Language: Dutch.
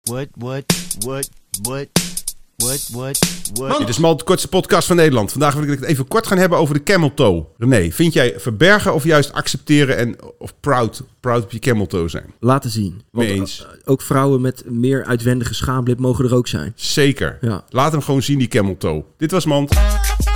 What, what, what, what, what, what, what. Dit is maar de kortste podcast van Nederland. Vandaag wil ik het even kort gaan hebben over de camel toe. René, vind jij verbergen of juist accepteren en of proud, proud op je camel toe zijn? laten zien. Want Mee eens. eh, Ook vrouwen met meer uitwendige schaamlip mogen er ook zijn. Zeker. Ja. Laat hem gewoon zien, die camel toe. Dit was Mand.